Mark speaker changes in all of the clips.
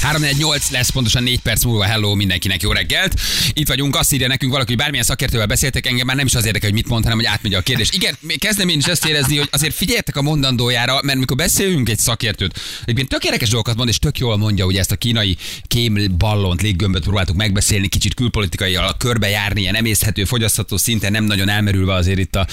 Speaker 1: 348 lesz pontosan 4 perc múlva. Hello mindenkinek, jó reggelt. Itt vagyunk, azt írja nekünk valaki, hogy bármilyen szakértővel beszéltek, engem már nem is az érdekel, hogy mit mond, hanem hogy átmegy a kérdés. Igen, kezdem én is ezt érezni, hogy azért figyeljetek a mondandójára, mert mikor beszélünk egy szakértőt, egyébként tök érdekes dolgokat mond, és tök jól mondja, hogy ezt a kínai kémballont, léggömböt próbáltuk megbeszélni, kicsit külpolitikai a körbejárni, ilyen emészhető, fogyasztható szinten, nem nagyon elmerülve azért itt a,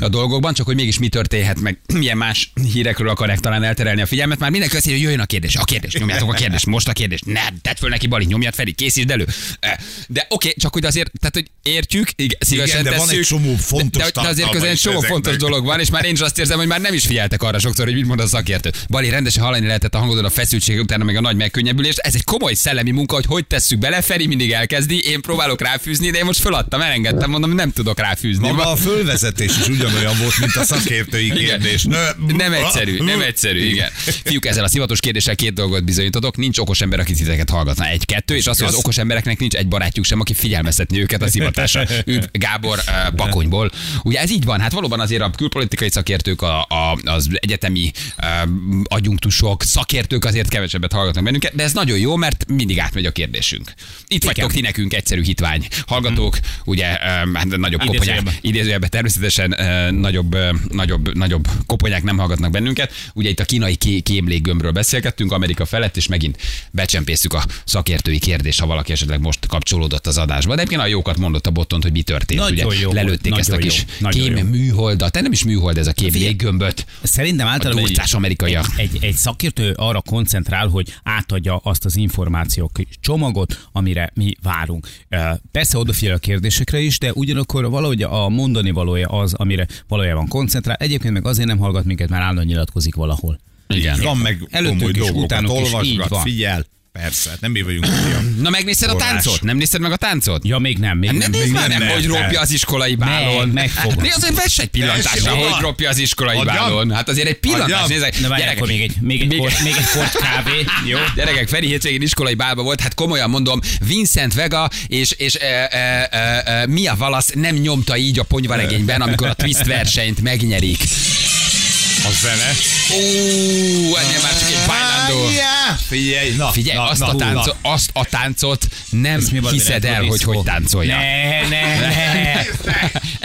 Speaker 1: a dolgokban, csak hogy mégis mi történhet, meg milyen más hírekről akarják talán elterelni a figyelmet. Már mindenki azt írja, hogy jöjjön a kérdés, a kérdés, nyomjátok a kérdés, most a kérdés, ne, tedd föl neki Bali, nyomjad Feri, készítsd elő. E, De oké, okay, csak hogy azért, tehát hogy értjük, igen, szívesen
Speaker 2: Igen, de van
Speaker 1: tesszük,
Speaker 2: egy csomó fontos
Speaker 1: de, de azért
Speaker 2: tartalma
Speaker 1: közben egy
Speaker 2: is
Speaker 1: csomó
Speaker 2: ezeknek.
Speaker 1: fontos dolog van, és már én is azt érzem, hogy már nem is figyeltek arra sokszor, hogy mit mond a szakértő. Bali, rendesen hallani lehetett a hangodon a feszültség utána meg a nagy megkönnyebbülést. Ez egy komoly szellemi munka, hogy hogy tesszük bele. Feri mindig elkezdi, én próbálok ráfűzni, de én most föladtam, elengedtem, mondom, hogy nem tudok ráfűzni.
Speaker 2: Maga a fölvezetés is ugyanolyan volt, mint a szakértői
Speaker 1: Igen.
Speaker 2: kérdés. Nö,
Speaker 1: Nem egyszerű, nem egyszerű, igen. Fiúk, ezzel a szivatos kérdéssel két dolgot bizonyítotok. Nincs okos ember, aki titeket hallgatna. Egy-kettő, és az, hogy az okos embereknek nincs egy barátjuk sem, aki figyelmeztetni őket a szivatásra. Üdv Gábor uh, Bakonyból. Ugye ez így van, hát valóban azért a külpolitikai szakértők, a, a, az egyetemi uh, agyunktusok, szakértők azért kevesebbet hallgatnak bennünket, de ez nagyon jó, mert mindig átmegy a kérdésünk. Itt vagytok ti nekünk egyszerű hitvány. Hallgatók, ugye, uh, hát nagyobb koponyák,
Speaker 3: Idézőjelben.
Speaker 1: idézőjelben természetesen ö, nagyobb, ö, nagyobb, nagyobb koponyák nem hallgatnak bennünket. Ugye itt a kínai ké- kémléggömbről beszélgettünk, Amerika felett, és megint becsempészük a szakértői kérdés, ha valaki esetleg most kapcsolódott az adásba. De egyébként a jókat mondott a bottont, hogy mi történt.
Speaker 3: Nagyon
Speaker 1: Ugye,
Speaker 3: jó,
Speaker 1: lelőtték
Speaker 3: nagyon
Speaker 1: ezt a
Speaker 3: jó,
Speaker 1: kis
Speaker 3: nagyon
Speaker 1: kém
Speaker 3: jó.
Speaker 1: műholdat. Te nem is műhold ez a kém léggömböt.
Speaker 3: Szerintem általában egy,
Speaker 1: durcás amerikaiak.
Speaker 3: egy, egy szakértő arra koncentrál, hogy átadja azt az információk csomagot, amire mi várunk. Ö, Persze odafigyel a kérdésekre is, de ugyanakkor valahogy a mondani valója az, amire valójában koncentrál. Egyébként meg azért nem hallgat minket, már állandóan nyilatkozik valahol.
Speaker 1: Igen.
Speaker 2: Van meg
Speaker 3: Előttünk
Speaker 2: komoly
Speaker 3: is,
Speaker 2: dolgokat,
Speaker 3: utánuk is, így
Speaker 2: olvasgat,
Speaker 3: van.
Speaker 2: figyel. Persze, hát nem mi vagyunk olyan.
Speaker 1: Na megnézed a
Speaker 2: Forrás.
Speaker 1: táncot? Nem nézted meg a táncot?
Speaker 3: Ja, még nem, még
Speaker 1: Hát
Speaker 3: nem.
Speaker 1: Nem,
Speaker 3: még
Speaker 1: nézd már
Speaker 2: nem,
Speaker 1: nem,
Speaker 2: nem,
Speaker 1: hogy
Speaker 2: nem.
Speaker 1: ropja az iskolai bálon.
Speaker 3: Meg, megfogom.
Speaker 1: Hát, Nézd, azért vess egy pillantást,
Speaker 2: Tessék,
Speaker 1: hogy
Speaker 2: van.
Speaker 1: ropja az iskolai
Speaker 2: Adjam?
Speaker 1: bálon. Hát azért egy pillantást
Speaker 2: Adjam?
Speaker 1: nézek.
Speaker 3: Na várj, akkor még egy, még egy,
Speaker 1: Még-
Speaker 3: kort, még egy kort kávé. Jó?
Speaker 1: Gyerekek, Feri hétvégén iskolai bálba volt, hát komolyan mondom, Vincent Vega és, és e, e, e, e, Mia Valasz nem nyomta így a ponyvaregényben, amikor a twist versenyt megnyerik.
Speaker 2: A zene.
Speaker 1: Ó, ennél már csak egy bájlandó.
Speaker 2: Ájjá! Figyelj, na,
Speaker 1: Figyelj,
Speaker 2: na,
Speaker 1: azt,
Speaker 2: na,
Speaker 1: a táncot,
Speaker 2: na.
Speaker 1: azt a táncot nem
Speaker 3: mi van,
Speaker 1: hiszed
Speaker 3: Retro
Speaker 1: el, hogy
Speaker 3: Disco?
Speaker 1: hogy táncolja.
Speaker 3: Ne, ne, ne.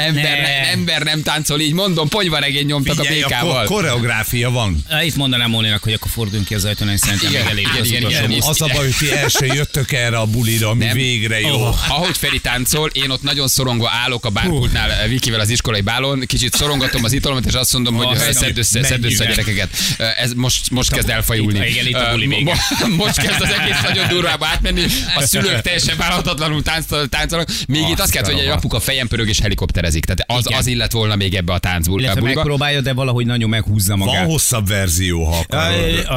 Speaker 1: ember, ne.
Speaker 3: Ne.
Speaker 1: ember nem táncol, így mondom, ponyvaregény nyomtak
Speaker 2: Figyelj,
Speaker 1: a
Speaker 2: a
Speaker 1: békával.
Speaker 2: ko- koreográfia van.
Speaker 3: Itt mondanám Móninak, hogy akkor forduljunk ki az ajtón, és szerintem
Speaker 1: Igen,
Speaker 3: még elég
Speaker 1: igen,
Speaker 3: az
Speaker 1: igen,
Speaker 3: utolsó
Speaker 1: igen.
Speaker 3: busz.
Speaker 2: Az a baj, hogy ti el se jöttök erre a bulira, ami
Speaker 1: Nem.
Speaker 2: végre jó.
Speaker 1: Oh. Ahogy Feri táncol, én ott nagyon szorongva állok a bárkultnál eh, Vikivel az iskolai bálon, kicsit szorongatom az italomat, és azt mondom, hogy
Speaker 3: Azt
Speaker 1: eh,
Speaker 3: nem,
Speaker 1: szedd össze,
Speaker 3: hát
Speaker 1: szedd
Speaker 3: menjünk
Speaker 1: össze a
Speaker 3: el.
Speaker 1: gyerekeket. Eh, Ez most, most kezd elfajulni.
Speaker 3: itt- igen, itt a
Speaker 1: Eh,
Speaker 3: buli
Speaker 1: mo-
Speaker 3: vége.
Speaker 1: mo- Most kezd az egész nagyon durvába átmenni, a szülők teljesen vállalhatatlanul táncol- táncolnak. Még itt azt kell, hogy egy
Speaker 2: rohadt.
Speaker 1: apuka fejen pörög és helikopterezik. Tehát az,
Speaker 3: Igen.
Speaker 1: az illet volna még ebbe a táncból.
Speaker 3: Illetve megpróbálja, de valahogy nagyon meghúzza
Speaker 2: Van
Speaker 3: magát.
Speaker 2: hosszabb verzió, ha akarod.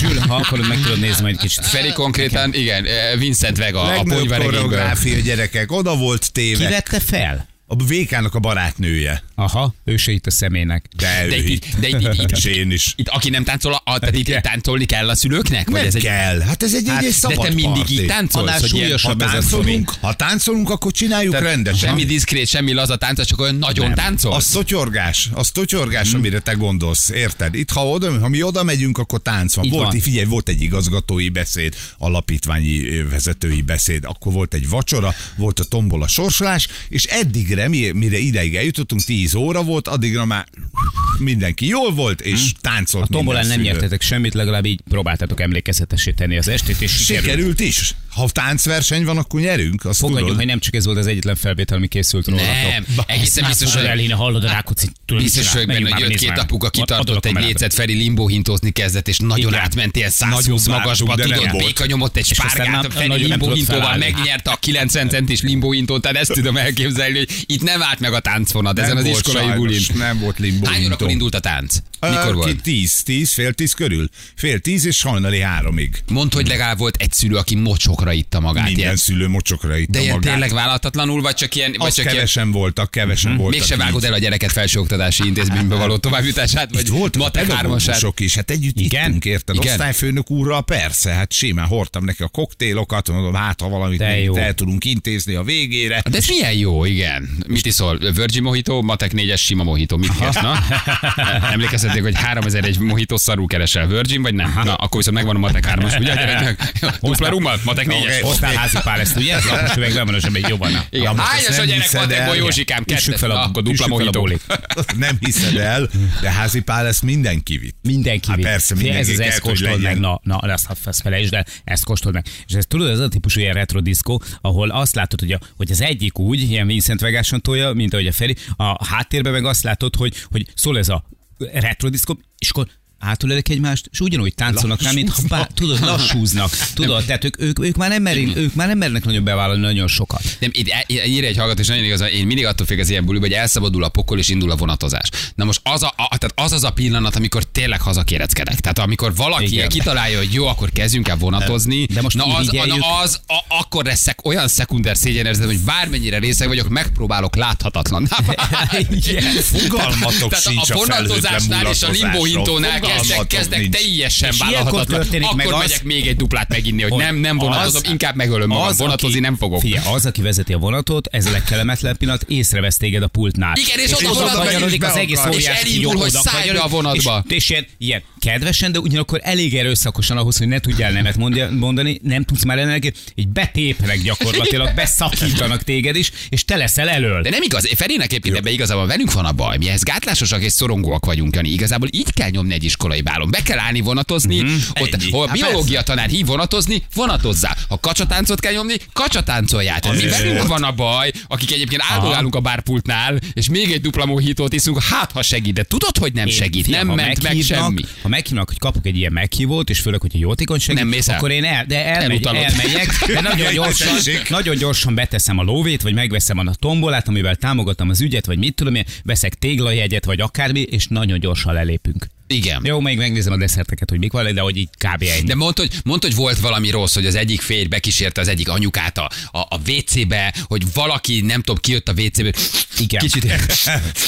Speaker 3: Zsül, ha akarod, meg tudod nézni majd kicsit.
Speaker 1: Feri konkrétan, igen, eh, Vincent Vega a
Speaker 2: Legnagyobb
Speaker 1: ponyvaregényből.
Speaker 2: koreográfia, gyerekek. Oda volt
Speaker 3: Ki
Speaker 2: téve.
Speaker 3: vette fel?
Speaker 2: A VK-nak a barátnője.
Speaker 3: Aha, ő se itt a személynek.
Speaker 2: De
Speaker 1: De
Speaker 2: ő
Speaker 1: itt,
Speaker 2: itt.
Speaker 1: de itt, itt,
Speaker 2: És
Speaker 1: itt,
Speaker 2: én is.
Speaker 1: itt, aki nem táncol, a, tehát itt táncolni kell a szülőknek? Vagy
Speaker 2: Nem
Speaker 1: ez egy
Speaker 2: kell. Hát ez egy, hát, egy
Speaker 1: de
Speaker 2: szabad
Speaker 1: te mindig így
Speaker 2: parti.
Speaker 1: táncolsz,
Speaker 3: Annál
Speaker 1: hogy ilyen,
Speaker 2: Ha
Speaker 3: súlyosabb ez a
Speaker 2: táncolunk, ha táncolunk, akkor csináljuk
Speaker 1: tehát
Speaker 2: rendesen.
Speaker 1: Semmi diszkrét, semmi laza tánc, csak olyan nagyon nem. táncol.
Speaker 2: A
Speaker 1: Azt
Speaker 2: szotyorgás, a szotyorgás,
Speaker 3: Hmm.
Speaker 2: amire te gondolsz, érted? Itt, ha, oda, ha mi oda megyünk, akkor tánc van.
Speaker 3: Így
Speaker 2: Volt,
Speaker 3: van.
Speaker 2: Figyelj, volt egy igazgatói beszéd, alapítványi ö, vezetői beszéd, akkor volt egy vacsora, volt a tombola sorsolás, és eddigre, mi- mire ideig eljutottunk, 10 óra volt, addigra már mindenki jól volt, és táncolt
Speaker 3: Hmm. A tombolán
Speaker 2: minden
Speaker 3: nem
Speaker 2: szülő.
Speaker 3: nyertetek semmit, legalább így próbáltátok emlékezetesé tenni az estét, és sikerült.
Speaker 2: Sikerült is. Ha táncverseny van, akkor nyerünk, azt
Speaker 3: Fogadjunk,
Speaker 2: tudod.
Speaker 3: hogy nem csak ez volt az egyetlen felvétel, ami készült róla.
Speaker 1: nem, egészen biztos, hogy
Speaker 3: Elina hallod a Rákóczi tőlem
Speaker 1: Biztos
Speaker 3: csinál.
Speaker 1: vagyok
Speaker 3: Menjünk
Speaker 1: benne, hogy
Speaker 3: már,
Speaker 1: jött
Speaker 3: nézd
Speaker 1: két
Speaker 3: már.
Speaker 1: apuka,
Speaker 3: Adod
Speaker 1: kitartott
Speaker 3: a
Speaker 1: egy
Speaker 3: kamerát.
Speaker 1: lécet, Feri limbóhintózni kezdett, és nagyon
Speaker 3: Igen.
Speaker 1: átment ilyen 120
Speaker 2: Nagyon
Speaker 1: magasba,
Speaker 2: vártuk, de
Speaker 1: tudod,
Speaker 2: nem volt.
Speaker 1: béka nyomott egy
Speaker 3: És aztán
Speaker 1: spárgát, a
Speaker 3: nem-
Speaker 1: Feri
Speaker 3: nagyon nem tudott
Speaker 1: limbóhintóval
Speaker 3: felállni.
Speaker 1: megnyerte a 90 centis limbóhintót, tehát ezt tudom elképzelni, hogy itt nem állt meg a táncfonat ezen az
Speaker 2: volt
Speaker 1: iskolai
Speaker 2: sajnos,
Speaker 1: bulin.
Speaker 2: Nem volt limbó.
Speaker 1: Hány órakor indult a tánc? Mikor volt?
Speaker 2: Tíz, tíz, fél tíz körül. Fél tíz és hajnali háromig.
Speaker 1: Mondd, hogy legalább volt egy szülő, aki mocsokra itta magát.
Speaker 2: Minden
Speaker 1: Hát Ilyen
Speaker 2: szülő mocsokra itt
Speaker 1: De
Speaker 2: a
Speaker 1: ilyen
Speaker 2: magát.
Speaker 1: tényleg vállalhatatlanul, vagy csak ilyen, vagy
Speaker 2: Azt
Speaker 1: csak ilyen Mhm.
Speaker 2: kevesen voltak, kevesen voltak.
Speaker 1: Mégse
Speaker 2: így.
Speaker 1: vágod el a gyereket felsőoktatási intézménybe való továbbjutását, vagy
Speaker 2: Itt volt
Speaker 1: matek hármasát.
Speaker 2: pedagógusok is, hát együtt Igen? ittunk, érted?
Speaker 1: Igen.
Speaker 2: Igen? Osztályfőnök úrral persze, hát simán hordtam neki a koktélokat, mondom, hát ha valamit
Speaker 3: De
Speaker 2: még
Speaker 3: jó.
Speaker 2: itt el tudunk intézni a végére.
Speaker 1: De ez milyen jó, igen. Mit iszol? Virgin Mojito, Matek 4-es sima Mojito. Mit kérsz, na? Emlékezhetsz megkérdezték, hogy 3000 egy mojito szarú keresel Virgin, vagy nem? Na, akkor viszont megvan a matek 3-as, ugye? Gyereknek? Dupla rummal, matek 4-es.
Speaker 3: Hoztál házi pál ezt, ugye? Ez lapos üveg, bemenosem egy jobban.
Speaker 1: Igen,
Speaker 2: most ezt
Speaker 1: hányas a
Speaker 2: nem
Speaker 1: gyerek
Speaker 2: hiszed
Speaker 1: matekból,
Speaker 2: el.
Speaker 1: Józsikám?
Speaker 3: Igen. Üssük
Speaker 1: Kettes.
Speaker 3: fel a-
Speaker 1: Na, Akkor dupla
Speaker 3: üssük fel a
Speaker 1: mojito.
Speaker 3: bulit.
Speaker 2: Nem hiszed el, de házi pál ezt mindenki vitt.
Speaker 3: Mindenki
Speaker 2: Hát
Speaker 3: vitt.
Speaker 2: persze,
Speaker 3: Figyelj,
Speaker 2: mindenki
Speaker 3: ez az
Speaker 2: kell,
Speaker 3: ezt
Speaker 2: hogy
Speaker 3: kóstold
Speaker 2: legyen.
Speaker 3: meg, na, na, de azt ha ezt felejtsd el, ezt kóstold meg. És ez tudod, ez a típusú ilyen retro diszkó, ahol azt látod, hogy, a, hogy az egyik úgy, ilyen Vincent Vegáson tolja, mint ahogy a Feri, a háttérben meg azt látod, hogy, hogy szól ez a retro diszkó, és akkor átülelek egymást, és ugyanúgy táncolnak rá, mint ha bá, tudod, lassúznak. Tudod, tehát ők, ők, ők, már nem merin, ők már nem mernek nagyon bevállalni nagyon sokat.
Speaker 1: Nem, itt e- e- írja egy hallgató, és nagyon igaz, én mindig attól félek az ilyen buliba, hogy elszabadul a pokol, és indul a vonatozás. Na most az a, a, tehát az, az a pillanat, amikor tényleg hazakéreckedek. Tehát amikor valaki
Speaker 3: Igen.
Speaker 1: Igen. kitalálja, hogy jó, akkor kezdjünk el vonatozni,
Speaker 3: De most
Speaker 1: na, az, a,
Speaker 3: irigyeljük.
Speaker 1: na az a, akkor leszek olyan szekunder szégyenérzetem, hogy bármennyire részeg vagyok, megpróbálok láthatatlan.
Speaker 3: Igen.
Speaker 2: Fogalmatok
Speaker 1: Tehát
Speaker 2: sincs
Speaker 1: a
Speaker 2: a
Speaker 1: vonatozásnál
Speaker 2: felhőtlen
Speaker 1: és a limbóhintónál kezdek, kezdek teljesen
Speaker 3: És ilyenkor
Speaker 1: vállalhatatlan.
Speaker 3: történik meg
Speaker 1: Akkor
Speaker 3: az-
Speaker 1: megyek még egy duplát meginni, hogy nem, nem vonatozom, inkább megölöm magam, vonatozni nem fogok.
Speaker 3: Fia, az, aki vezeti a vonatot, ez a legkelemetlen pillanat, észrevesz téged a pultnál.
Speaker 1: Igen, és ott
Speaker 3: oda
Speaker 1: odakanyarodik,
Speaker 3: kanyarodik az
Speaker 2: és
Speaker 3: egész
Speaker 2: beakad.
Speaker 3: óriási
Speaker 1: És elindul,
Speaker 3: kígyó,
Speaker 1: hogy
Speaker 3: oda
Speaker 1: szállj be a
Speaker 3: kanyarodik,
Speaker 1: vonatba.
Speaker 3: És, és ilyen, ilyen, kedvesen, de ugyanakkor elég erőszakosan ahhoz, hogy ne tudjál nemet mondja- mondani, nem tudsz már ennek, így betépnek gyakorlatilag, beszakítanak téged is, és te leszel elől.
Speaker 1: De nem igaz, Ferének egyébként ebben igazából velünk van a baj. Mi ehhez gátlásosak és szorongóak vagyunk, Jani. Igazából így kell nyomni egy iskolai bálon. Be kell állni vonatozni,
Speaker 3: Mhm.
Speaker 1: mm-hmm, ott,
Speaker 2: ennyi.
Speaker 1: hol a
Speaker 2: Hát
Speaker 1: biológia tanár hív vonatozni, vonatozzá. Ha kacsatáncot kell nyomni, kacsatáncolját. Mi velünk van a baj, akik egyébként áldogálunk a bárpultnál, és még egy dupla mohítót iszunk, hát ha segít, de tudod, hogy nem
Speaker 3: Én,
Speaker 1: segít,
Speaker 3: fiam,
Speaker 1: nem
Speaker 3: ha
Speaker 1: ment meg
Speaker 3: meghívnak-
Speaker 1: semmi.
Speaker 3: Ha meghívnak, hogy kapok egy ilyen meghívót, és főleg, hogy a jótékony segít,
Speaker 1: Nem mész el.
Speaker 3: akkor én el, de elmegy,
Speaker 1: Elutalod.
Speaker 3: elmegyek, de nagyon
Speaker 2: Jaj,
Speaker 3: gyorsan,
Speaker 2: tessék.
Speaker 3: nagyon gyorsan beteszem a lóvét, vagy megveszem a tombolát, amivel támogatom az ügyet, vagy mit tudom én, veszek téglajegyet, vagy akármi, és nagyon gyorsan lelépünk.
Speaker 1: Igen.
Speaker 3: Jó, még megnézem a desszerteket, hogy mik van, de hogy így kb. ennyi.
Speaker 1: De mondd hogy, mondd, hogy volt valami rossz, hogy az egyik férj bekísérte az egyik anyukát a, a, a WC-be, hogy valaki, nem tudom, kijött a WC-ből.
Speaker 3: Igen.
Speaker 1: Kicsit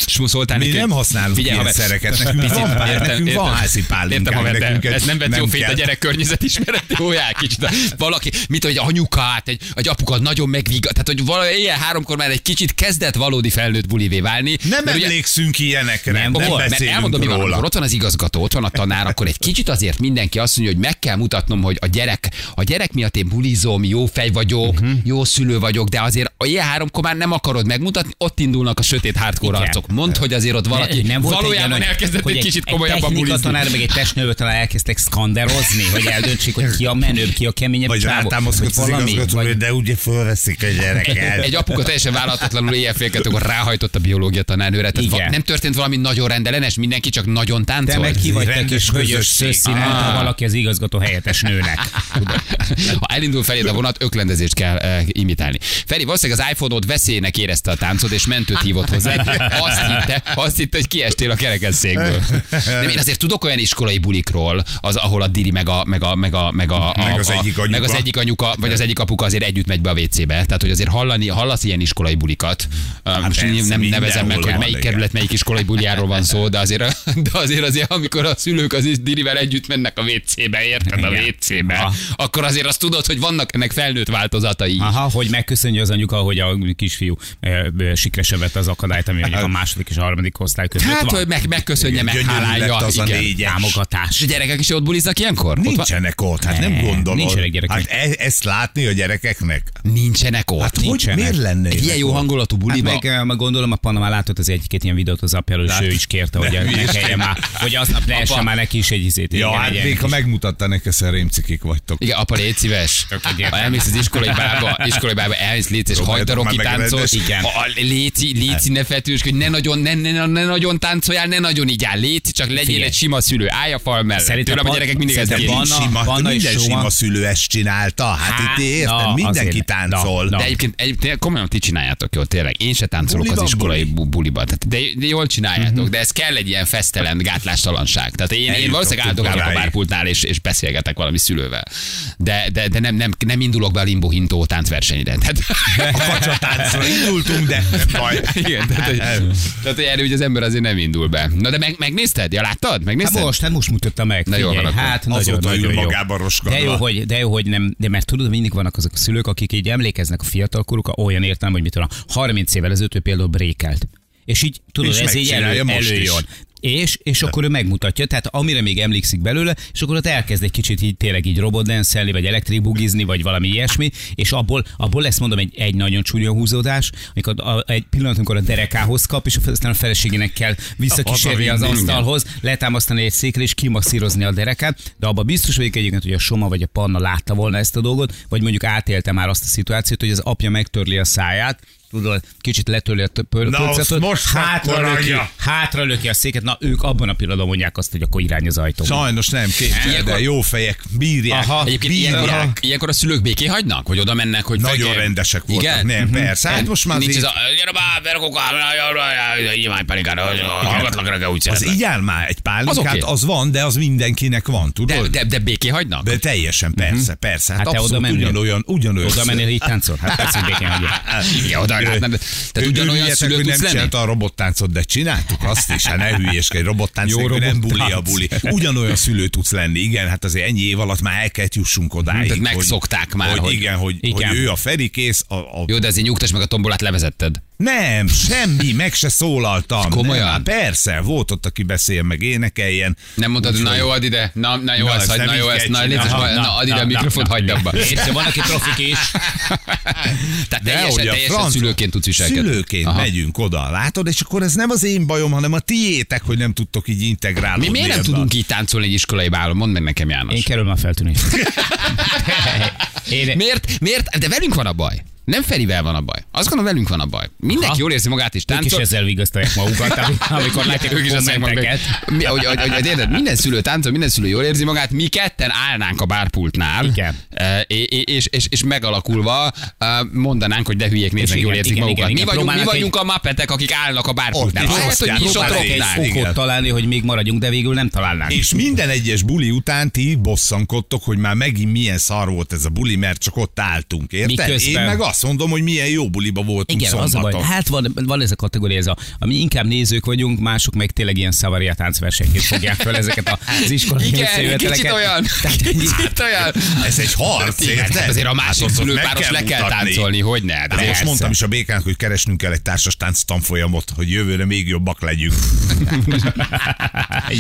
Speaker 1: smuszoltál
Speaker 2: Mi nem használunk
Speaker 1: Figyelj,
Speaker 2: ilyen
Speaker 1: haver.
Speaker 2: szereket, nekünk
Speaker 1: Picit,
Speaker 2: van, pár,
Speaker 1: értem,
Speaker 2: nekünk van
Speaker 1: értem.
Speaker 2: házi pál,
Speaker 1: Értem, haver, de
Speaker 2: nekünk
Speaker 1: ez nem vett jó fényt a
Speaker 2: kell.
Speaker 1: gyerek környezet ismeret, jójá, kicsit. Valaki, mit hogy egy anyukát, egy, egy apukat nagyon megvigat, tehát hogy valami ilyen háromkor már egy kicsit kezdett valódi felnőtt bulivé válni.
Speaker 2: Nem
Speaker 1: mert ugye-
Speaker 2: emlékszünk ilyenekre, nem,
Speaker 1: Akkor,
Speaker 2: nem
Speaker 1: mert
Speaker 2: beszélünk
Speaker 1: elmondom, mi van, amikor
Speaker 2: róla.
Speaker 1: ott van az igazgató, ott van a tanár, akkor egy kicsit azért mindenki azt mondja, hogy meg kell mutatnom, hogy a gyerek, a gyerek miatt én bulizom, jó fej vagyok,
Speaker 3: Mhm.
Speaker 1: uh-huh. jó szülő vagyok, de azért a ilyen háromkor már nem akarod megmutatni, ott indulnak a sötét hardcore
Speaker 3: Igen.
Speaker 1: arcok. Mondd, hogy azért ott valaki
Speaker 3: Ne-
Speaker 1: nem
Speaker 3: volt
Speaker 1: valójában
Speaker 3: egy ilyen,
Speaker 1: elkezdett
Speaker 3: hogy
Speaker 1: egy kicsit komolyabban
Speaker 3: egy bulizni.
Speaker 1: bulizni.
Speaker 3: tanár, meg egy testnővő talán elkezdtek szkanderozni, hogy eldöntsék, hogy ki a menőbb, ki a keményebb
Speaker 2: Vagy
Speaker 3: csávó,
Speaker 2: rátámaszkodsz
Speaker 3: vagy
Speaker 2: az igazgatóra,
Speaker 3: vagy-
Speaker 2: de ugye fölveszik a gyereket.
Speaker 1: Egy apuka teljesen vállalatlanul éjjel akkor ráhajtott a biológia tanárnőre. Tehát
Speaker 3: Igen.
Speaker 1: va- nem történt valami nagyon rendellenes, mindenki csak nagyon
Speaker 3: Te
Speaker 1: táncolt.
Speaker 3: meg ki vagy te
Speaker 2: rendes
Speaker 3: kis högyös
Speaker 2: közösség.
Speaker 3: szőszínelt, ha valaki az igazgató helyettes nőnek. Tudod.
Speaker 1: Ha elindul feléd a vonat, öklendezést kell uh, imitálni. Feri valószínűleg az iPhone-od veszélynek érezte a táncod, és mentőt hívott hozzá. Azt hitte, azt hitte hogy kiestél a kerekesszékből. De én azért tudok olyan iskolai bulikról, az, ahol a Diri meg a, meg a, meg a, meg a,
Speaker 2: Meg az
Speaker 1: a,
Speaker 2: egyik
Speaker 1: a
Speaker 2: anyuka.
Speaker 1: meg az egyik anyuka, vagy az egyik apuka azért együtt megy be a WC-be. Tehát, hogy azért hallani, hallasz ilyen iskolai bulikat. Hát most
Speaker 2: persze,
Speaker 1: persze, nem nevezem
Speaker 2: mindenhol
Speaker 1: meg, hogy
Speaker 2: van,
Speaker 1: melyik
Speaker 2: igen.
Speaker 1: kerület, Hát melyik iskolai buliáról van szó, de azért, de azért, azért amikor a szülők az is Dirivel együtt mennek a WC-be, érted? A
Speaker 3: Igen.
Speaker 1: WC-be
Speaker 3: Aha.
Speaker 1: akkor azért azt tudod, hogy vannak ennek felnőtt változatai.
Speaker 3: Aha, hogy megköszönje az anyuka, hogy a kisfiú eh, eh, sikre se vette az akadályt, ami mondjuk a második és a harmadik osztály között
Speaker 1: Hát,
Speaker 3: van.
Speaker 1: hogy meg, megköszönje,
Speaker 2: Gyönyörű
Speaker 1: meghálálja.
Speaker 2: lett az a
Speaker 1: Igen.
Speaker 2: négyes.
Speaker 1: És
Speaker 3: Támogatás.
Speaker 1: a gyerekek is ott buliznak ilyenkor? Ott van-
Speaker 2: Nincsenek ott, hát nem
Speaker 3: Ne,
Speaker 2: gondolod.
Speaker 3: nincsenek gyerekek.
Speaker 2: Hát e- ezt látni a gyerekeknek?
Speaker 1: Nincsenek ott.
Speaker 2: Hát hogy
Speaker 3: nincsenek.
Speaker 2: miért lenne?
Speaker 1: Egy ilyen jó hangulatú
Speaker 3: Hát
Speaker 1: buliba.
Speaker 3: meg, eh, meg, gondolom, a Panama látott az egyik-két ilyen videót az apjáról, és ő is kérte, hogy ne kelljen már, hogy aznap ne essen már neki is egy izét.
Speaker 2: Ja,
Speaker 3: igen,
Speaker 2: hát
Speaker 3: egy ilyen
Speaker 2: még ha
Speaker 3: kis-
Speaker 2: megmutatta neked, szerémcikik vagytok.
Speaker 1: igen, apa, légy szíves.
Speaker 3: Tök
Speaker 1: Ha
Speaker 3: egyértelmű.
Speaker 1: elmész az iskolai bába, iskolai bába elmész, légy és
Speaker 2: Próbáljátok
Speaker 1: hajta roki
Speaker 2: már
Speaker 1: táncol.
Speaker 2: megrendezni.
Speaker 3: Igen.
Speaker 1: Ha a Léci, léci ne feltűnösködj, ne nagyon, ne, ne, ne, nagyon táncoljál, ne nagyon igyál. Léci, csak legyél
Speaker 3: Figyelj.
Speaker 1: egy sima szülő. Állj a fal mellett.
Speaker 3: Szerintem
Speaker 1: Tőlem a
Speaker 3: van-
Speaker 1: gyerekek mindig ezt
Speaker 3: szerintem
Speaker 1: kérik.
Speaker 3: van-
Speaker 2: Vanna, sima,
Speaker 3: Vanna
Speaker 2: vanna
Speaker 3: és
Speaker 2: minden
Speaker 3: Soma-
Speaker 2: sima szülő ezt csinálta. Hát
Speaker 3: Hát,
Speaker 2: itt érted,
Speaker 3: na, azért
Speaker 2: mindenki
Speaker 3: ne.
Speaker 2: táncol.
Speaker 3: Na,
Speaker 1: De
Speaker 3: na.
Speaker 1: egyébként, egyébként komolyan ti csináljátok jól, tényleg. Én se táncolok
Speaker 2: Buliban,
Speaker 1: az iskolai buli. buliba. Tehát de, de jól csináljátok,
Speaker 2: Mhm.
Speaker 1: de ez kell egy ilyen fesztelen gátlástalanság. Tehát én, én
Speaker 2: Eljutok
Speaker 1: valószínűleg áldogálok a
Speaker 2: odáig.
Speaker 1: bárpultnál, és, és beszélgetek valami szülővel. De, de, de nem, nem, nem indulok be a limbo hintó táncversenyre. Tehát,
Speaker 2: A kacsatáncra indultunk, de nem baj.
Speaker 1: igen, tehát, hogy, tehát hogy erre ugye az ember azért nem indul be. Na de meg, megnézted? Ja, láttad?
Speaker 3: Hát
Speaker 1: Megnézted?
Speaker 3: most, hát most mutatta meg.
Speaker 1: Na, jól
Speaker 3: figyelj,
Speaker 1: van akkor.
Speaker 3: hát nagyon,
Speaker 2: Azóta
Speaker 3: nagyon
Speaker 2: ül
Speaker 3: jó.
Speaker 2: magába rosgadva.
Speaker 3: De jó, hogy, de jó, hogy nem, de mert tudod, mindig vannak azok a szülők, akik így emlékeznek a fiatalkorukra, olyan értelem, hogy mit tudom, 30 évvel ezelőtt ő például brékelt. És így tudod,
Speaker 2: És
Speaker 3: ez így elő,
Speaker 2: megcsinálja most is.
Speaker 3: előjön. És, és akkor ő megmutatja, tehát amire még emlékszik belőle, és akkor ott elkezd egy kicsit így tényleg így robotdenszelni, vagy elektrikbugizni, vagy valami ilyesmi, és abból, abból lesz mondom egy, egy nagyon csúnya húzódás, amikor a, egy pillanat, amikor a derekához kap, és aztán a feleségének kell visszakísérni az
Speaker 1: Hazavinni, igen.
Speaker 3: asztal ahhoz letámasztani egy székre és kimasszírozni a derekát, de abban biztos vagyok egyébként, hogy a Soma vagy a Panna látta volna ezt a dolgot, vagy mondjuk átélte már azt a szituációt, hogy az apja megtörli a száját, tudod, kicsit letörli a tö- pör-
Speaker 2: Na,
Speaker 3: pörcetot,
Speaker 2: azt most
Speaker 3: hátra
Speaker 2: akkor
Speaker 3: löki,
Speaker 2: adja.
Speaker 3: hátra löki a széket, na ők abban a pillanatban mondják azt, hogy akkor irány az ajtó.
Speaker 2: Sajnos nem, kétszer, de
Speaker 1: Ilyenkor-
Speaker 2: jó fejek, bírják,
Speaker 3: Aha.
Speaker 1: Egyébként ilyenkor a,
Speaker 2: bírják.
Speaker 1: ilyenkor a szülők béké hagynak, hogy oda mennek, hogy
Speaker 2: Nagyon
Speaker 1: fekje-
Speaker 2: rendesek voltak.
Speaker 1: Igen?
Speaker 2: Nem,
Speaker 1: Mhm.
Speaker 2: persze. Hát
Speaker 1: Nem,
Speaker 2: most már
Speaker 1: Nincs
Speaker 2: azért-
Speaker 1: ez a... Gyere már, verkóka, imány panikára, hallgatlak reggel úgy
Speaker 2: Az
Speaker 1: szeretlek.
Speaker 2: igyál már egy pálinkát,
Speaker 1: oké.
Speaker 2: az, van, de az mindenkinek van,
Speaker 1: De,
Speaker 2: tudod?
Speaker 1: de, Mhm. de béké hagynak?
Speaker 2: De teljesen, persze, persze. Hát,
Speaker 3: Hát te
Speaker 2: abszolút
Speaker 3: oda mennél?
Speaker 2: ugyanolyan, ugyanolyan.
Speaker 3: Oda mennél, így táncol? Hát persze, békén hagyja.
Speaker 1: Ja, oda, hát nem, tehát ugyanolyan szülő
Speaker 2: hogy nem
Speaker 1: tudsz lenni?
Speaker 2: csinálta a robottáncot, de csináltuk azt is, hát ne hülyéskedj, robottánc,
Speaker 1: Jó
Speaker 2: Jó nem
Speaker 1: robottánc.
Speaker 2: buli a buli. Ugyanolyan szülő tudsz lenni, igen, hát azért ennyi év alatt már el kellett jussunk odáig.
Speaker 1: Tehát
Speaker 2: hogy-
Speaker 1: megszokták már,
Speaker 2: Hogy,
Speaker 1: hogy-
Speaker 2: igen, hogy,
Speaker 3: Igen.
Speaker 2: hogy ő a Feri kész, a, a
Speaker 1: Jó, de azért nyugtass meg a tombolát, levezetted.
Speaker 2: Nem, semmi, meg se szólaltam.
Speaker 1: Komolyan?
Speaker 2: Nem, hát persze, volt ott, aki beszél, meg énekeljen.
Speaker 1: Nem mondtad, hogy na jó, add ide, na, na jó,
Speaker 2: Na,
Speaker 1: ezt
Speaker 2: ezt
Speaker 1: hagyd,
Speaker 2: nem
Speaker 1: na
Speaker 2: így
Speaker 1: jó,
Speaker 2: kell
Speaker 1: ezt, na, légy,
Speaker 2: csinálni.
Speaker 1: szíves,
Speaker 3: Na,
Speaker 1: na,
Speaker 3: na,
Speaker 1: add ide
Speaker 3: na,
Speaker 1: a
Speaker 3: na,
Speaker 1: mikrofont,
Speaker 3: na.
Speaker 1: hagyd abba.
Speaker 3: Érted, van, aki trafik is.
Speaker 1: Tehát teljesen,
Speaker 2: hogy a
Speaker 1: teljesen
Speaker 2: franc-
Speaker 1: szülőként tudsz viselkedni.
Speaker 2: Szülőként Aha. megyünk oda, látod, és akkor ez nem az én bajom, hanem a tiétek, hogy nem tudtok így integrálni.
Speaker 1: Mi miért nem tudunk így táncolni egy iskolai bálon? Mondd meg nekem,
Speaker 3: Én
Speaker 1: János.
Speaker 3: kerülöm a feltűnést. Én,
Speaker 1: Miért? Miért? De velünk van a baj. Nem Ferivel van a baj. Azt gondolom, velünk van a baj. Mindenki
Speaker 3: Aha.
Speaker 1: jól érzi magát és
Speaker 3: ők is
Speaker 1: táncol.
Speaker 3: ezzel vigasztalják magukat, amikor látják
Speaker 1: Ők is
Speaker 3: a
Speaker 1: azt mondják, hogy-
Speaker 3: kommenteket.
Speaker 1: Mi- hogy- hogy- hogy- hogy érted, minden szülő táncol, minden szülő jól érzi magát, mi ketten állnánk a bárpultnál,
Speaker 3: Igen.
Speaker 1: e, és, és, és, és megalakulva e, mondanánk, hogy de hülyék néznek,
Speaker 3: igen,
Speaker 1: jól érzik
Speaker 3: igen,
Speaker 1: magukat.
Speaker 3: igen, igen.
Speaker 1: mi vagyunk, mi
Speaker 3: Próbálnak
Speaker 1: vagyunk a mappetek, akik állnak a bárpultnál.
Speaker 2: Ott is
Speaker 1: Lehet, hogy mi is ott
Speaker 2: osztják,
Speaker 3: Próbálok egy
Speaker 1: rognánk.
Speaker 2: osztják. Igen.
Speaker 3: fokot találni, hogy még maradjunk, de végül nem találnánk.
Speaker 2: És minden egyes buli után ti bosszankodtok, hogy már megint milyen szar volt ez a buli, mert csak ott álltunk, érted?
Speaker 3: Miközben-
Speaker 2: Én meg azt mondom, hogy milyen jó buliba voltunk
Speaker 3: Igen, az a baj.
Speaker 2: szombaton.
Speaker 3: Hát van, van ez a kategória, ez a, ami inkább nézők vagyunk, mások meg tényleg ilyen szavaria táncversenyként fogják fel ezeket az iskolai
Speaker 1: Igen,
Speaker 3: összejöveteleket.
Speaker 1: kicsit olyan. Kicsit olyan.
Speaker 3: Hát
Speaker 2: Ez egy harc,
Speaker 1: Igen,
Speaker 2: érted?
Speaker 1: hát azért a
Speaker 2: Hát
Speaker 1: másik
Speaker 2: ott- ott
Speaker 1: szülőpáros
Speaker 2: meg
Speaker 1: le kell
Speaker 2: mutatni.
Speaker 1: táncolni, hogy ne. De
Speaker 2: Hát most
Speaker 1: persze.
Speaker 2: mondtam is a békának, hogy keresnünk kell egy társas tánc tanfolyamot, hogy jövőre még jobbak legyünk.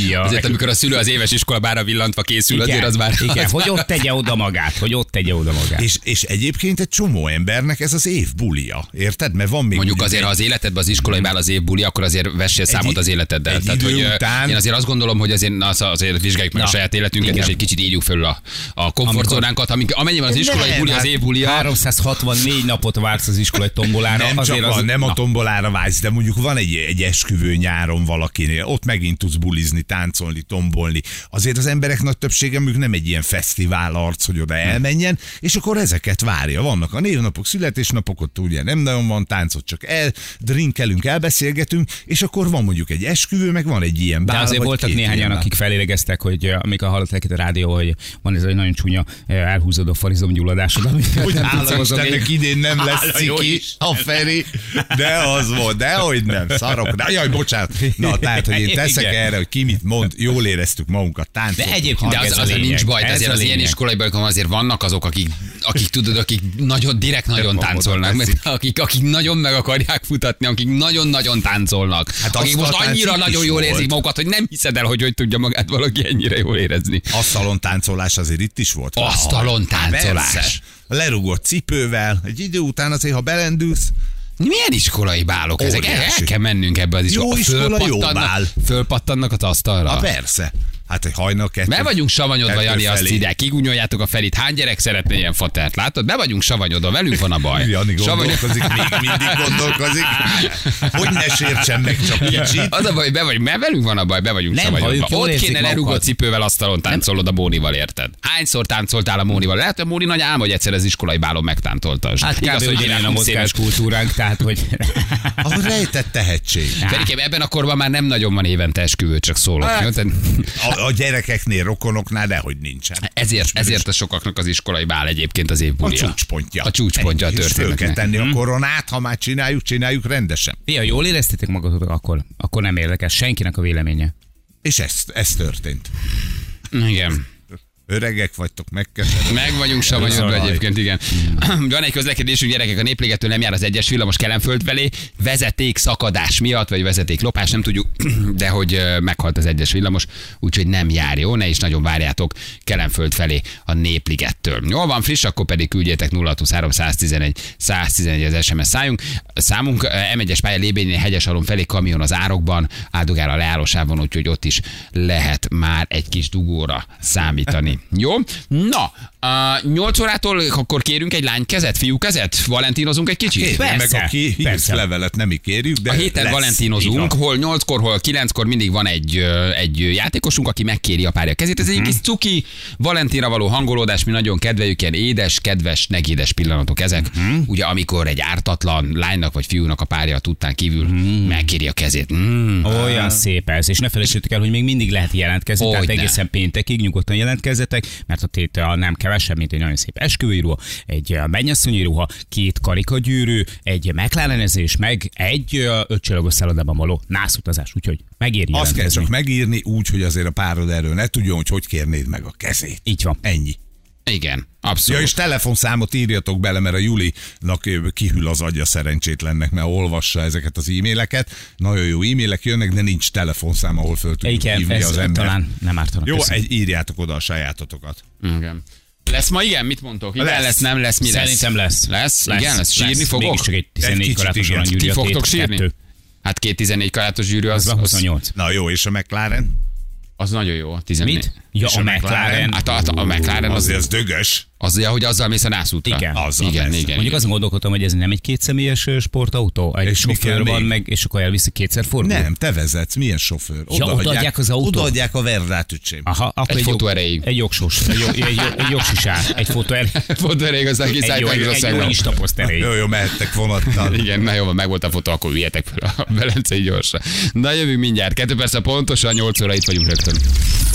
Speaker 3: Ja.
Speaker 1: Azért, amikor a szülő az éves iskolabára villantva készül, azért az már...
Speaker 3: igen,
Speaker 1: az
Speaker 3: hogy ott tegye oda magát, hogy ott tegye oda
Speaker 1: Hát.
Speaker 3: magát.
Speaker 2: és, és egyébként egy csomó embernek ez az év bulia, érted? Mert van még...
Speaker 1: Mondjuk azért, ha az életedben az iskolai vál az év buli, akkor azért vessél számot az életeddel.
Speaker 2: egy
Speaker 1: Tehát,
Speaker 2: idő
Speaker 1: hogy, ö,
Speaker 2: után-
Speaker 1: Én azért azt gondolom, hogy azért, na, az- azért vizsgáljuk meg a
Speaker 3: Na,
Speaker 1: saját életünket,
Speaker 3: igen.
Speaker 1: és egy kicsit írjuk föl a, a komfortzónánkat. Amik, amennyiben az iskolai
Speaker 2: Nem,
Speaker 1: buli az
Speaker 2: hát
Speaker 1: év bulia,
Speaker 3: 364 napot vársz az iskolai tombolára.
Speaker 2: Nem
Speaker 3: azért
Speaker 2: csak
Speaker 3: az,
Speaker 2: a, nem a
Speaker 3: Na,
Speaker 2: tombolára vágysz, de mondjuk van egy, egy esküvő nyáron valakinél, ott megint tudsz bulizni, táncolni, tombolni. Azért az emberek nagy többsége mondjuk nem egy ilyen fesztivál arc, hogy oda elmenjen, és akkor ezeket várja. Vannak a névnapok, születésnapok, ott ugye nem nagyon van táncot, csak el, drinkelünk, elbeszélgetünk, és akkor van mondjuk egy esküvő, meg van egy ilyen bál,
Speaker 3: de azért
Speaker 2: vagy
Speaker 3: voltak
Speaker 2: két
Speaker 3: néhányan,
Speaker 2: ilyen
Speaker 3: akik felélegeztek, hogy eh, amikor hallották itt a rádió, hogy van ez egy nagyon csúnya eh, elhúzódó farizomgyulladásod, amit
Speaker 2: Hogy
Speaker 3: nem tudsz
Speaker 2: hála
Speaker 3: hozzámérni.
Speaker 2: Istennek idén nem lesz
Speaker 3: Hála jó
Speaker 2: ciki, a Feri, de az volt, de hogy nem, szarok rá. Jaj, bocsánat. Na, tehát, hogy én teszek
Speaker 3: Igen.
Speaker 2: erre, hogy ki mit mond, jól éreztük magunkat, táncoltunk.
Speaker 3: De egyébként
Speaker 1: de az,
Speaker 3: ez a
Speaker 1: az
Speaker 3: lényeg.
Speaker 1: nincs baj, de
Speaker 3: Ez
Speaker 1: azért
Speaker 3: a
Speaker 1: az ilyen
Speaker 3: lényeg.
Speaker 1: iskolai balikon azért vannak azok, akik, akik tudod, akik nagyon, direkt nagyon
Speaker 2: magad
Speaker 1: táncolnak, mert
Speaker 2: veszik.
Speaker 1: akik, akik nagyon meg akarják futatni, akik nagyon-nagyon táncolnak, hát
Speaker 2: Hát
Speaker 1: akik
Speaker 2: azt
Speaker 1: most
Speaker 2: a tánc
Speaker 1: annyira
Speaker 2: itt
Speaker 1: nagyon
Speaker 2: is
Speaker 1: jól érzik
Speaker 2: volt.
Speaker 1: magukat, hogy nem hiszed el, hogy hogy tudja magát valaki ennyire jól érezni.
Speaker 2: Asztalon táncolás azért itt is volt.
Speaker 1: Asztalon táncolás.
Speaker 2: Persze. Lerugott cipővel, egy idő után azért, ha belendülsz,
Speaker 1: Milyen iskolai bálok ezek? El, el
Speaker 2: Óriási.
Speaker 1: kell mennünk ebbe az iskolába.
Speaker 2: Jó iskola, jó bál.
Speaker 1: Fölpattannak az asztalra.
Speaker 2: a persze. Hát egy hajnal kettő.
Speaker 1: Be vagyunk savanyodva,
Speaker 2: kettő
Speaker 1: Jani, azt
Speaker 2: felé.
Speaker 1: ide. Kigunyoljátok a felit. Hány gyerek szeretne ilyen fatert? Látod? Be vagyunk savanyodva, velünk van a baj.
Speaker 2: Jani
Speaker 1: Savany-
Speaker 2: gondolkozik, még mindig gondolkozik. Hogy ne sértsen meg csak kicsit.
Speaker 1: Az a baj, be vagy, mert velünk van a baj, be vagyunk
Speaker 3: Nem, ha
Speaker 1: savanyodva.
Speaker 3: ők jól
Speaker 1: Ott
Speaker 3: érzik
Speaker 1: kéne lerugott
Speaker 3: magukat.
Speaker 1: cipővel asztalon táncolod a Bónival, érted? Hányszor táncoltál a Mónival? Lehet, hogy a Móni nagy álma, hogy egyszer az iskolai bálon megtántoltas.
Speaker 3: Hát kb. ugyanilyen a mozgás kultúránk, tehát hogy...
Speaker 2: Az rejtett tehetség.
Speaker 1: Ferikem, ebben a korban már nem nagyon van évente esküvő, csak szólok.
Speaker 2: Hát.
Speaker 1: jó? Tehát-
Speaker 2: A, a gyerekeknél, rokonoknál dehogy nincsen.
Speaker 1: Ezért, ezért a sokaknak az iskolai bál egyébként az év
Speaker 2: A
Speaker 1: bulia.
Speaker 2: csúcspontja.
Speaker 1: A csúcspontja a
Speaker 2: Egy- És föl kell
Speaker 1: történetnek. Mhm.
Speaker 2: tenni a koronát, ha már csináljuk, csináljuk rendesen.
Speaker 3: Fia, jól éreztétek magatokat akkor? Akkor nem érdekel senkinek a véleménye.
Speaker 2: És ez, ez történt.
Speaker 1: Igen.
Speaker 2: Öregek vagytok, megkeserek.
Speaker 1: Meg vagyunk savanyúdva
Speaker 2: Zalaj.
Speaker 1: egyébként, igen. Van egy közlekedésünk, gyerekek, a néplégetől nem jár az egyes villamos Kelenföld felé, vezeték szakadás miatt, vagy vezeték lopás, nem tudjuk, de hogy ö, meghalt az egyes villamos, úgyhogy nem jár, jó? Ne is nagyon várjátok Kelenföld felé a népligettől. Jól van, friss, akkor pedig küldjétek 0623 111 111 az SMS szájunk. Számunk ö, M1-es pálya lébénynél hegyes alon felé kamion az árokban, áldogál a leállósában, úgyhogy ott is lehet már egy kis dugóra számítani. Jó? Na, a 8 órától akkor kérünk egy lány kezet, fiú kezet, valentínozunk egy kicsit?
Speaker 2: Kérjük meg,
Speaker 3: Persze,
Speaker 2: aki hívsz
Speaker 3: persze.
Speaker 2: levelet nem kérjük, de
Speaker 1: A héten
Speaker 2: lesz.
Speaker 1: valentínozunk, hol 8-kor, hol 9-kor mindig van egy, ö, egy játékosunk, aki megkéri a párja kezét. Ez
Speaker 3: Mhm.
Speaker 1: egy kis cuki, Valentinra való hangolódás, mi nagyon kedveljük, ilyen édes, kedves, negédes pillanatok ezek.
Speaker 3: Mhm.
Speaker 1: Ugye amikor egy ártatlan lánynak vagy fiúnak a párja tudtán kívül
Speaker 3: Mhm.
Speaker 1: megkéri a kezét. Mm.
Speaker 3: Olyan szép ez, és ne felejtsétek el, hogy még mindig lehet jelentkezni,
Speaker 1: Hogyne.
Speaker 3: tehát egészen péntekig nyugodtan jelentkezzetek, mert a tétel nem kevesebb, mint egy nagyon szép esküvői ruha, egy eh, mennyasszonyi ruha, két karikagyűrű, egy McLarenezés, meg egy eh, ötcsillagos szállodában való nászutazás, úgyhogy megéri
Speaker 2: Azt kell
Speaker 3: jelentkezni.
Speaker 2: csak megírni úgy, hogy azért a párod erről ne tudjon, hogy hogy kérnéd meg a kezét.
Speaker 3: Így van.
Speaker 2: Ennyi.
Speaker 1: Igen,
Speaker 2: Ja,
Speaker 1: abszolút.
Speaker 2: és telefonszámot írjatok bele, mert a Julinak ö, kihűl az agya szerencsétlennek, mert olvassa ezeket az e-maileket. Nagyon jó e-mailek jönnek, de nincs telefonszám, ahol föl tudjuk
Speaker 3: Igen,
Speaker 2: hívni
Speaker 3: ez
Speaker 2: az ember.
Speaker 3: talán nem ártana.
Speaker 2: Jó,
Speaker 3: köszönöm.
Speaker 2: egy, írjátok oda a sajátotokat.
Speaker 1: Igen. Lesz ma igen? Mit mondtok? Igen, lesz.
Speaker 2: Lesz.
Speaker 1: lesz, nem lesz, mi lesz?
Speaker 3: Szerintem lesz.
Speaker 1: Lesz? Igen, lesz. Sírni fogok?
Speaker 3: Mégiscsak egy 14
Speaker 2: kicsit
Speaker 3: karátos
Speaker 2: igen.
Speaker 3: aranygyűrű
Speaker 1: Ti
Speaker 3: a tét,
Speaker 1: fogtok sírni?
Speaker 3: kettő.
Speaker 1: Hát két 14 karátos gyűrű az,
Speaker 3: Az van 28.
Speaker 2: Na jó, és a McLaren?
Speaker 1: az nagyon jó. a 14.
Speaker 3: Mit? Ja,
Speaker 2: És
Speaker 3: a
Speaker 2: a
Speaker 3: McLaren.
Speaker 2: McLaren.
Speaker 1: Hát a, a McLaren az,
Speaker 2: Azért az dögös.
Speaker 1: az, ja, hogy azzal mész a nászútra.
Speaker 3: Igen.
Speaker 2: Azzal
Speaker 1: igen,
Speaker 2: persze.
Speaker 1: igen, igen.
Speaker 3: Mondjuk azon gondolkodtam, hogy ez nem egy kétszemélyes ö, sportautó, egy és
Speaker 2: És mi
Speaker 3: sofőr
Speaker 2: kell
Speaker 3: van
Speaker 2: még?
Speaker 3: meg, és akkor elviszi kétszer fordul.
Speaker 2: Nem, te vezetsz, milyen sofőr?
Speaker 3: Ja, odaadják az autót.
Speaker 2: Odaadják a verdát, öcsém.
Speaker 3: Aha, akkor
Speaker 1: Egy fotó
Speaker 3: jog-
Speaker 1: erejéig.
Speaker 3: Egy jogsós, egy, jog, egy, jog, egy jogsusár, egy fotó erejéig.
Speaker 1: Pont elég az egész
Speaker 3: Egy, jog, egy, egy
Speaker 1: Ágytágazországban.
Speaker 3: instaposzt erejéig.
Speaker 2: Jó, jó, mehettek vonattal.
Speaker 1: Igen, na jó, van, meg volt a fotó, akkor üljetek fel a Velencei gyorsra. Na jövünk mindjárt, kettő persze pontosan, 8 óra itt vagyunk rögtön.